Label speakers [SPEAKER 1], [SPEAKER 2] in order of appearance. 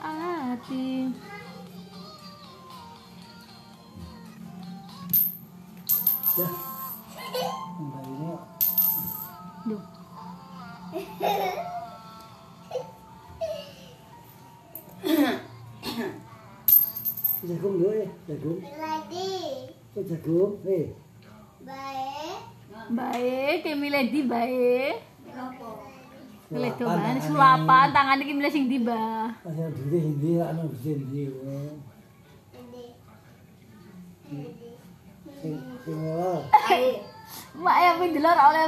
[SPEAKER 1] ati
[SPEAKER 2] Dah. Ang bayo mo.
[SPEAKER 1] Duh.
[SPEAKER 2] Jagung dulu eh. Jagung. Eh, jagung. Eh.
[SPEAKER 1] Bae, kayak milih di bae. Milih doban,
[SPEAKER 2] tangan.
[SPEAKER 1] sulapan tangan iki milih sing di ba.
[SPEAKER 2] Ada duit hindi lah. Ano duit hindi. eh. Sing- sing ora.
[SPEAKER 1] Mak ya pindel ora oleh